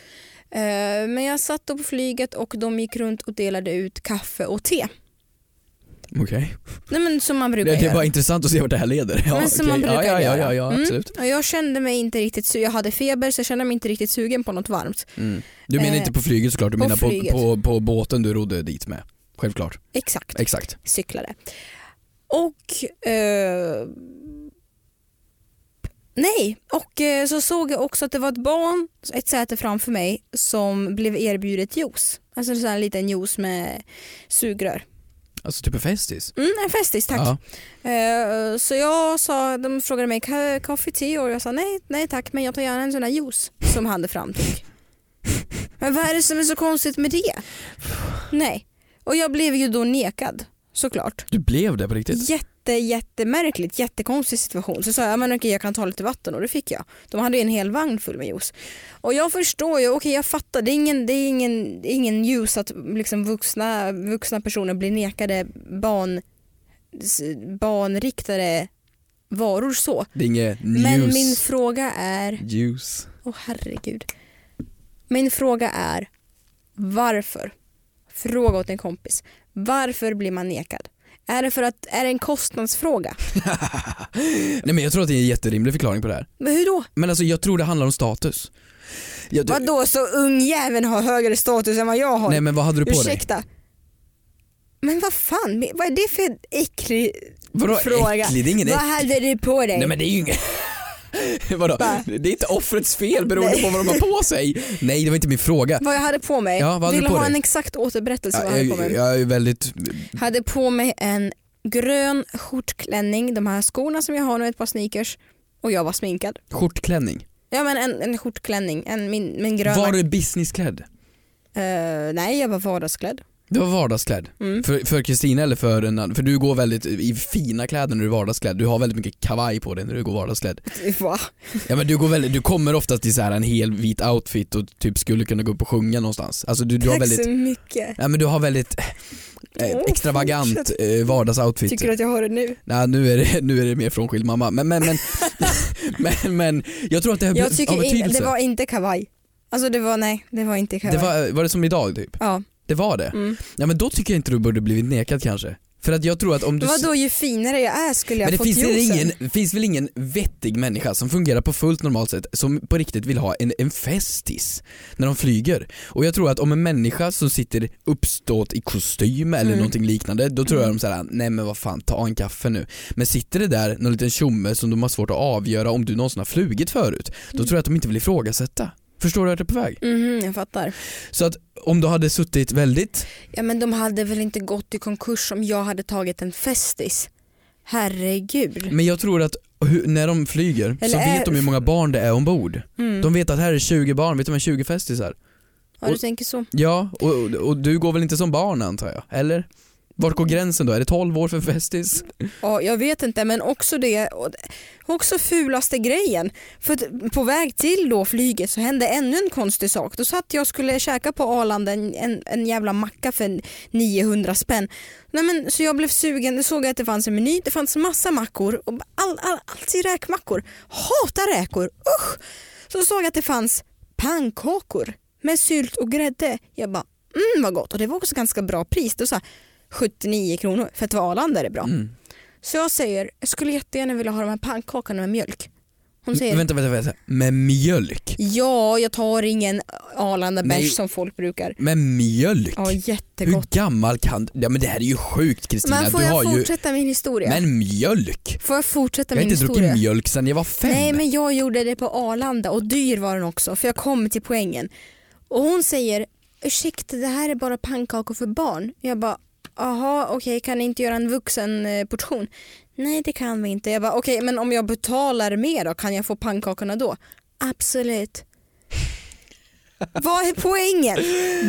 Speaker 2: Eh, Men jag satt då på flyget och de gick runt och delade ut kaffe och te.
Speaker 3: Okej.
Speaker 2: Nej men som man brukar
Speaker 3: Det, det är typ
Speaker 2: göra.
Speaker 3: bara intressant att se vart det här leder. Ja,
Speaker 2: men som
Speaker 3: okej.
Speaker 2: man brukar
Speaker 3: ja, ja, ja,
Speaker 2: göra.
Speaker 3: ja, ja
Speaker 2: Mm.
Speaker 3: absolut.
Speaker 2: Och jag kände mig inte riktigt su- jag hade feber så jag kände mig inte riktigt sugen på något varmt.
Speaker 3: Mm. Du menar
Speaker 2: Eh,
Speaker 3: inte på flyget såklart, du
Speaker 2: på
Speaker 3: menar på,
Speaker 2: flyget.
Speaker 3: på, på båten du rodde dit med. Självklart,
Speaker 2: Exakt,
Speaker 3: exakt.
Speaker 2: cyklade. Och eh, Nej, och eh, så såg jag också att det var ett barn, ett säte framför mig, som blev erbjudet juice. Alltså en sån här liten juice med sugrör.
Speaker 3: Alltså typ en festis.
Speaker 2: Mm, en festis tack.
Speaker 3: Ja.
Speaker 2: Eh, Så jag sa, de frågade mig "Ka- kaffe, te och jag sa nej, nej tack men jag tar gärna en sån här juice som han framtog. Men vad är det som är så konstigt med det? Nej. Och jag blev ju då nekad såklart.
Speaker 3: Du blev det på riktigt?
Speaker 2: Jätte, jättemärkligt, jättekonstig situation. Så sa jag, "Ja, men okej jag kan ta lite vatten och det fick jag. De hade ju en hel vagn full med juice. Och jag förstår ju, okej jag fattar, det är ingen, det är ingen, det är ingen juice att liksom vuxna, vuxna personer blir nekade barn, s- barnriktade varor så.
Speaker 3: Det är inget
Speaker 2: Men
Speaker 3: news.
Speaker 2: min fråga är,
Speaker 3: Juice.
Speaker 2: åh herregud. Min fråga är, varför? Fråga åt en kompis. Varför blir man nekad? Är det för att, är det en kostnadsfråga?
Speaker 3: Nej men jag tror att det är en jätterimlig förklaring på det här.
Speaker 2: Men hur då?
Speaker 3: Men alltså jag tror det handlar om status. Jag, du,
Speaker 2: Vadå så ungjäveln har högre status än vad jag har?
Speaker 3: nej men vad hade du på dig?
Speaker 2: Ursäkta. Men vad fan, vad är det för äcklig
Speaker 3: Vadå
Speaker 2: fråga?
Speaker 3: äcklig? Det är ingen
Speaker 2: vad
Speaker 3: äck-
Speaker 2: hade du på dig?
Speaker 3: Nej men det är ju inget. <laughs> Vadå?
Speaker 2: Va?
Speaker 3: Det är inte offrets fel beroende på vad de har på sig. Nej det var inte min fråga.
Speaker 2: Vad jag hade på mig?
Speaker 3: Ja, vad hade
Speaker 2: Vill
Speaker 3: du på
Speaker 2: ha
Speaker 3: dig?
Speaker 2: en exakt återberättelse vad jag
Speaker 3: jag,
Speaker 2: hade på mig?
Speaker 3: jag är väldigt,
Speaker 2: Hade på mig en grön skjortklänning, de här skorna som jag har nu, ett par sneakers och jag var sminkad.
Speaker 3: skjortklänning. Ja,
Speaker 2: Ja men en, en skjortklänning, en, min, min gröna.
Speaker 3: var du businessklädd?
Speaker 2: Eh, nej jag var vardagsklädd.
Speaker 3: Du var vardagsklädd.
Speaker 2: Mm. <laughs>
Speaker 3: För För Kristina eller för en annan? För du går väldigt i fina kläder när du är vardagsklädd. Du har väldigt mycket kavaj på dig när du går vardagsklädd.
Speaker 2: Va?
Speaker 3: Ja men du går väldigt, du kommer oftast i så här en hel vit outfit och typ skulle kunna gå upp och sjunga någonstans. Alltså du, du har
Speaker 2: Tack
Speaker 3: väldigt,
Speaker 2: så mycket.
Speaker 3: ja men du har väldigt eh,
Speaker 2: Åh,
Speaker 3: extravagant
Speaker 2: fortsätt.
Speaker 3: eh, vardagsoutfit.
Speaker 2: Tycker du att jag har det nu?
Speaker 3: Nej nu är det, nu är det mer frånskild mamma. Men, men,
Speaker 2: <laughs>
Speaker 3: men, men, men jag tror att det har,
Speaker 2: Jag
Speaker 3: har
Speaker 2: tycker in,
Speaker 3: betydelse.
Speaker 2: det var inte kavaj. Alltså det var, nej det var inte kavaj.
Speaker 3: det var, var det som idag typ?
Speaker 2: Ja.
Speaker 3: Det var det?
Speaker 2: Mm.
Speaker 3: Ja men då tycker jag inte du borde blivit nekad kanske. För att jag tror att om du...
Speaker 2: Vadå ju finare jag är skulle jag
Speaker 3: men det
Speaker 2: fått
Speaker 3: finns väl,
Speaker 2: juicen.
Speaker 3: ingen, finns väl ingen vettig människa som fungerar på fullt normalt sätt som på riktigt vill ha en, en festis när de flyger. Och jag tror att om en människa som sitter uppstått i kostym eller
Speaker 2: Mm.
Speaker 3: någonting liknande, då tror jag de säger nej men vad fan ta en kaffe nu. Men sitter det där någon liten tjomme som de har svårt att avgöra om du någonsin har flugit förut,
Speaker 2: Mm.
Speaker 3: då tror jag att de inte vill ifrågasätta. Förstår du vart jag är på väg?
Speaker 2: Mhm, jag fattar.
Speaker 3: Så att om du hade suttit väldigt,
Speaker 2: Ja men de hade väl inte gått i konkurs om jag hade tagit en festis. Herregud.
Speaker 3: men jag tror att hu- när de flyger så
Speaker 2: Eller är-
Speaker 3: vet de hur många barn det är ombord.
Speaker 2: Mm.
Speaker 3: De vet att här är 20 barn, vet du vem 20 festisar?
Speaker 2: ja du tänker så.
Speaker 3: Ja, och, och, och du går väl inte som barn antar jag? Eller? Vart går gränsen då? Är det 12 år för festis?
Speaker 2: Ja, jag vet inte men också det, och det- också fulaste grejen. För att på väg till då flyget så hände ännu en konstig sak. Då satt jag och skulle käka på Arlanda en, en, en jävla macka för 900 spänn. Nej, men, så jag blev sugen, då såg jag att det fanns en meny, det fanns massa mackor och all, all, alltid räkmackor. Hatar räkor, usch! Så såg jag att det fanns pannkakor med sylt och grädde. Jag bara, mm vad gott och det var också ganska bra pris. Då sa jag, 79 kronor för att det var Arlanda är det bra.
Speaker 3: Mm.
Speaker 2: Så jag säger, jag skulle jättegärna vilja ha de här pannkakorna med mjölk. Hon säger,
Speaker 3: Vänta, vänta, vänta. Med mjölk?
Speaker 2: ja jag tar ingen Arlanda
Speaker 3: Nej.
Speaker 2: bärs som folk brukar.
Speaker 3: Med mjölk?
Speaker 2: Ja
Speaker 3: Hur
Speaker 2: jättegott.
Speaker 3: gammal kan du? Ja men det här är ju sjukt Kristina,
Speaker 2: Men får
Speaker 3: du har
Speaker 2: jag
Speaker 3: ju...
Speaker 2: fortsätta min historia?
Speaker 3: Men mjölk?
Speaker 2: får jag fortsätta
Speaker 3: Jag har
Speaker 2: min
Speaker 3: inte
Speaker 2: historia?
Speaker 3: druckit mjölk sedan jag var fem.
Speaker 2: Nej men jag gjorde det på Arlanda och dyr var den också för jag kom till poängen. Och hon säger ursäkta det här är bara pannkakor för barn. Jag bara aha okej kan ni inte göra en vuxen eh, portion? Nej det kan vi inte. Jag bara okej men om jag betalar mer då kan jag få pannkakorna då? Absolut. <laughs> Vad är poängen?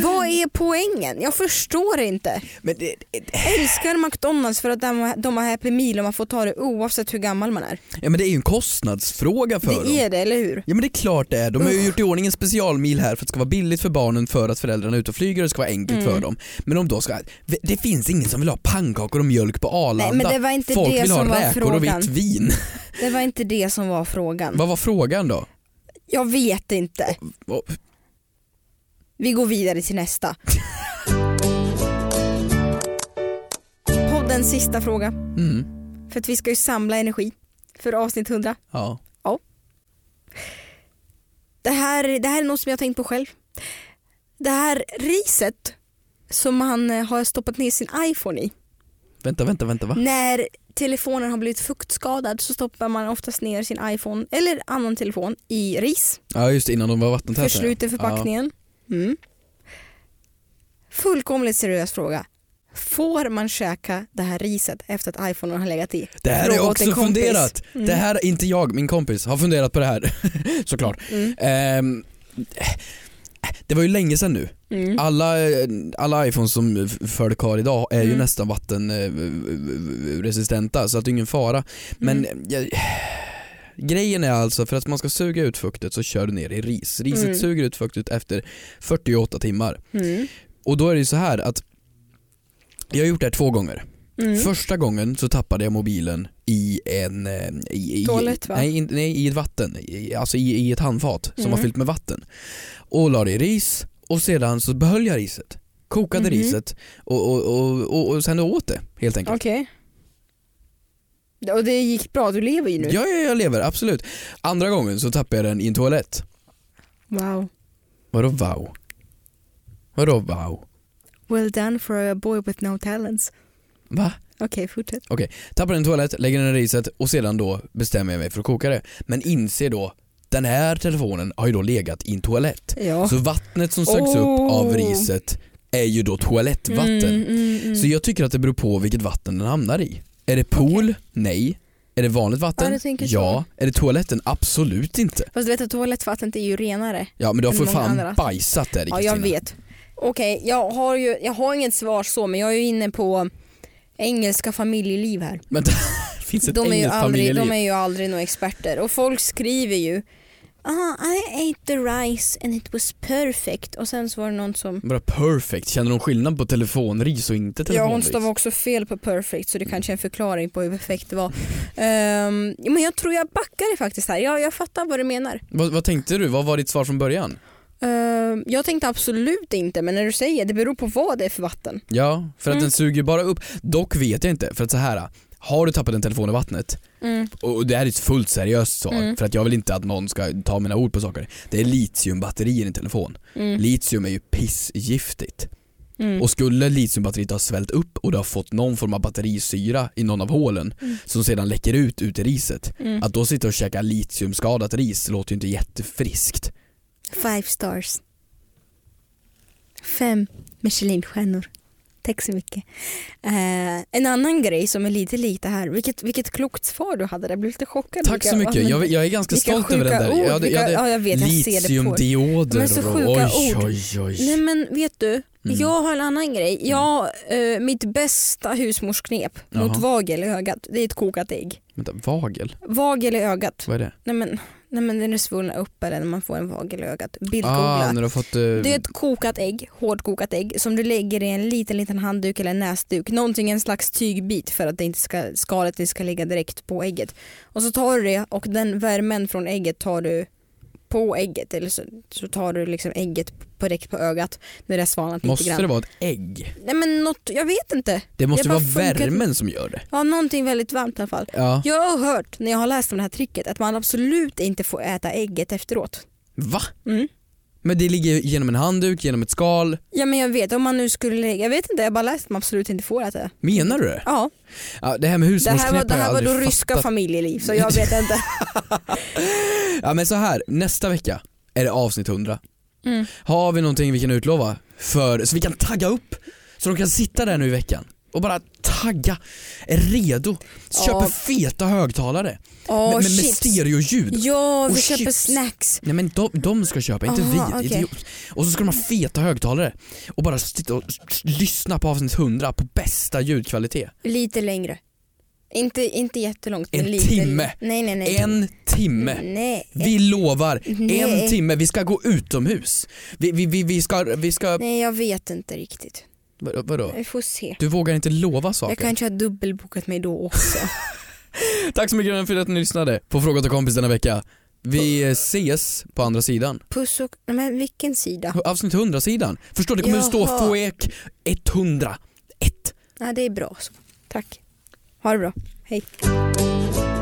Speaker 2: Vad är poängen? Jag förstår inte.
Speaker 3: Men det, det-
Speaker 2: Älskar McDonalds för att de, de har Happy Meal och man får ta det oavsett hur gammal man är.
Speaker 3: ja, men det är ju en kostnadsfråga för dem.
Speaker 2: Det är det, eller hur?
Speaker 3: Ja men det är klart det är. De har ju gjort i ordning en specialmil här för att det ska vara billigt för barnen för att föräldrarna är ute och flyger och det ska vara enkelt
Speaker 2: Mm.
Speaker 3: för dem. Men om då ska, det finns ingen som vill ha pannkakor och mjölk på Arlanda.
Speaker 2: Nej, men det var inte
Speaker 3: Folk
Speaker 2: det
Speaker 3: vill
Speaker 2: som
Speaker 3: ha
Speaker 2: var
Speaker 3: räkor och
Speaker 2: frågan.
Speaker 3: vitt vin. <laughs>
Speaker 2: Det var inte det som var frågan.
Speaker 3: Vad var frågan då?
Speaker 2: Jag vet inte.
Speaker 3: Vad- Vi
Speaker 2: Vi går vidare till nästa. Podden en sista fråga.
Speaker 3: Mm.
Speaker 2: För att vi ska ju samla energi för avsnitt 100.
Speaker 3: Ja.
Speaker 2: Det här, det här är något som jag har tänkt på själv. Det här riset som man eh, har stoppat ner sin iPhone i.
Speaker 3: Vänta, vänta, vänta va?
Speaker 2: När telefonen har blivit fuktskadad så stoppar man oftast ner sin iPhone eller annan telefon i ris.
Speaker 3: Ja just det, innan de var vattentäta.
Speaker 2: Försluter förpackningen. Mm. Fullkomligt seriös fråga. Får man käka det här riset efter att iPhone har legat i?
Speaker 3: Ja. Det här har jag
Speaker 2: Fråga åt en
Speaker 3: också
Speaker 2: kompis.
Speaker 3: funderat.
Speaker 2: Mm.
Speaker 3: Det här, inte jag, min kompis har funderat på det här. <laughs> Såklart.
Speaker 2: Mm.
Speaker 3: Ehm, det var ju länge sedan nu.
Speaker 2: Mm.
Speaker 3: Alla, alla iPhones som f- folk har idag är ju
Speaker 2: Mm.
Speaker 3: nästan eh, vattenresistenta så att det är ingen fara. Men
Speaker 2: Mm.
Speaker 3: jag, <sighs> grejen är alltså för att man ska suga ut fuktet så kör du ner i ris. Riset
Speaker 2: Mm.
Speaker 3: suger ut fuktet efter 48 timmar.
Speaker 2: Mm.
Speaker 3: Och då är det ju så här att jag har gjort det här två gånger.
Speaker 2: Mm.
Speaker 3: Första gången så tappade jag mobilen i en... eh, I, i,
Speaker 2: Toalett, va?
Speaker 3: Nej, in, nej, i ett vatten. I, alltså i, i ett handfat som
Speaker 2: Mm.
Speaker 3: var fyllt med vatten. Och la det i ris och sedan så behöll jag riset. Kokade
Speaker 2: Mhm.
Speaker 3: riset och, och, och, och, och sen åt det helt enkelt.
Speaker 2: Okej. Och det gick bra, du lever ju nu.
Speaker 3: Ja, ja, jag lever, absolut. Andra gången så tappade jag den i en toalett.
Speaker 2: Wow.
Speaker 3: Vadå wow? Vadå wow?
Speaker 2: Well done for a boy with no talents.
Speaker 3: Va?
Speaker 2: Okej, fortsätt.
Speaker 3: Tappar den i en toalett, lägger den i riset och sedan då bestämmer jag mig för att koka det. Men inser då, den här telefonen har ju då legat i en toalett.
Speaker 2: Ja.
Speaker 3: Så vattnet som sögs upp
Speaker 2: Oh.
Speaker 3: av riset är ju då toalettvatten.
Speaker 2: Mm, mm, mm.
Speaker 3: Så jag tycker att det beror på vilket vatten den hamnar i. Är det pool? Nej. Är det vanligt
Speaker 2: Ja,
Speaker 3: vatten?
Speaker 2: du tänker så.
Speaker 3: ja. Är det toaletten? Absolut inte.
Speaker 2: Fast du vet att toalettvattnet är ju renare.
Speaker 3: Ja men du har
Speaker 2: Än
Speaker 3: för
Speaker 2: många
Speaker 3: fan
Speaker 2: andra.
Speaker 3: bajsat där i
Speaker 2: Ja, jag
Speaker 3: Kristina.
Speaker 2: vet. Okej, jag har ju jag har inget svar så men jag är ju inne på engelska familjeliv här.
Speaker 3: Men det <laughs> finns ett
Speaker 2: De är, ju
Speaker 3: engelskt
Speaker 2: aldrig,
Speaker 3: familjeliv.
Speaker 2: de är ju aldrig några experter och folk skriver ju Ah, I ate the rice and it was perfect och sen så var det någon som
Speaker 3: Bara perfect, känner de skillnad på telefonris och inte
Speaker 2: Ja hon
Speaker 3: telefonris?
Speaker 2: stavade också fel på perfect så det kanske är en förklaring på hur perfekt det var. Ehm, men jag tror jag backar det faktiskt här. Jag, jag fattar vad du menar.
Speaker 3: vad, vad tänkte du? Vad var ditt svar från början?
Speaker 2: Ehm, jag tänkte absolut inte men när du säger det beror på vad det är för vatten.
Speaker 3: Ja, för att
Speaker 2: Mm.
Speaker 3: den suger bara upp. Dock vet jag inte, för att så här. Har du tappat en telefon i vattnet och och det här är ett fullt seriöst svar
Speaker 2: Mm.
Speaker 3: för att jag vill inte att någon ska ta mina ord på saker. Det är litiumbatterier i en telefon.
Speaker 2: Mm.
Speaker 3: Litium är ju pissgiftigt.
Speaker 2: Mm.
Speaker 3: Och skulle litiumbatteriet ha svällt upp och det har fått någon form av batterisyra i någon av hålen
Speaker 2: Mm.
Speaker 3: som sedan läcker ut ut i riset.
Speaker 2: Mm.
Speaker 3: Att då sitta och käka litiumskadat ris låter ju inte jättefriskt.
Speaker 2: Five stars. Fem Michelinstjärnor. Tack så mycket. Eh, en annan grej som är lite lik det här, vilket, vilket klokt svar du hade, jag blev lite chockad.
Speaker 3: Tack så mycket, jag, jag är ganska
Speaker 2: vilka
Speaker 3: stolt över den
Speaker 2: sjuka
Speaker 3: där.
Speaker 2: Ord,
Speaker 3: jag hade, jag
Speaker 2: vilka,
Speaker 3: hade
Speaker 2: ja, jag vet, jag ser det på dig.
Speaker 3: litiumdioder
Speaker 2: Men så
Speaker 3: och
Speaker 2: sjuka
Speaker 3: oj,
Speaker 2: ord.
Speaker 3: oj, oj.
Speaker 2: Nej men vet du,
Speaker 3: Mm.
Speaker 2: jag har en annan grej. Jag, eh, mitt bästa husmorsknep mot
Speaker 3: Jaha.
Speaker 2: vagel i ögat, det är ett kokat ägg.
Speaker 3: Vänta, vagel?
Speaker 2: Vagel i ögat,
Speaker 3: Vad är det?
Speaker 2: nej men, nej, men den är svullna upp eller när man får en vagel i ögat. Bildgoogla.
Speaker 3: Ah, när du har fått... eh,
Speaker 2: Det är ett kokat ägg, hårdkokat ägg som du lägger i en liten liten handduk eller en näsduk. Någonting, en slags tygbit för att det inte ska, skalet inte ska ligga direkt på ägget. Och så tar du det och den värmen från ägget tar du på ägget eller så, så tar du liksom ägget på- direkt på ögat när det har svalnat lite
Speaker 3: Måste
Speaker 2: grann.
Speaker 3: det vara ett ägg?
Speaker 2: Nej men något, jag vet inte.
Speaker 3: Det måste
Speaker 2: Det
Speaker 3: ju
Speaker 2: bara
Speaker 3: vara
Speaker 2: funkar-
Speaker 3: värmen som gör det.
Speaker 2: Ja någonting väldigt varmt i alla fall.
Speaker 3: Ja.
Speaker 2: Jag har hört när jag har läst om det här tricket att man absolut inte får äta ägget efteråt.
Speaker 3: Va?
Speaker 2: Mm.
Speaker 3: Men det ligger ju genom en handduk, genom ett skal.
Speaker 2: Ja men jag vet, om man nu skulle lägga, jag vet inte, jag har bara läst att man absolut inte får äta det.
Speaker 3: Menar du det?
Speaker 2: Ja.
Speaker 3: Ja, det här med
Speaker 2: Det här var,
Speaker 3: husmorsknep
Speaker 2: det
Speaker 3: har jag
Speaker 2: här var
Speaker 3: aldrig
Speaker 2: då
Speaker 3: fattat.
Speaker 2: ryska familjeliv så jag vet
Speaker 3: <laughs>
Speaker 2: inte.
Speaker 3: Ja men så här, nästa vecka är det avsnitt 100.
Speaker 2: Mm.
Speaker 3: Har vi någonting vi kan utlova? För, så vi kan tagga upp. Så de kan sitta där nu i veckan och bara tagga, är redo,
Speaker 2: Ja.
Speaker 3: köper feta högtalare
Speaker 2: Åh
Speaker 3: med, med,
Speaker 2: Oh,
Speaker 3: med
Speaker 2: chips.
Speaker 3: stereoljud.
Speaker 2: Ja, vi
Speaker 3: Och
Speaker 2: köper
Speaker 3: Oh, chips.
Speaker 2: snacks.
Speaker 3: Nej men de, de ska köpa, inte
Speaker 2: Aha,
Speaker 3: vi.
Speaker 2: okej.
Speaker 3: Idiot. Och så ska de ha feta högtalare och bara sitta och s- s- lyssna på avsnitt 100 på bästa ljudkvalitet.
Speaker 2: Lite längre. Inte, inte jättelångt men
Speaker 3: En
Speaker 2: lite.
Speaker 3: timme.
Speaker 2: Nej nej nej.
Speaker 3: En timme.
Speaker 2: Nej.
Speaker 3: Vi lovar,
Speaker 2: Nej.
Speaker 3: en timme. Vi ska gå utomhus. Vi, vi, vi, vi ska, vi ska,
Speaker 2: Nej jag vet inte riktigt.
Speaker 3: vad, vadå?
Speaker 2: Vi får se.
Speaker 3: Du vågar inte lova saker.
Speaker 2: Jag kanske har dubbelbokat mig då
Speaker 3: <laughs>
Speaker 2: också.
Speaker 3: Tack så mycket för att ni lyssnade på Fråga till kompis denna vecka. Vi eh, ses på andra sidan.
Speaker 2: Puss och... Nej, men vilken sida?
Speaker 3: Avsnitt 100-sidan. Förstår, det kommer att stå
Speaker 2: Jaha.
Speaker 3: FOEK 100. Ett.
Speaker 2: Ja det är bra så. Tack. Ha det bra. Hej.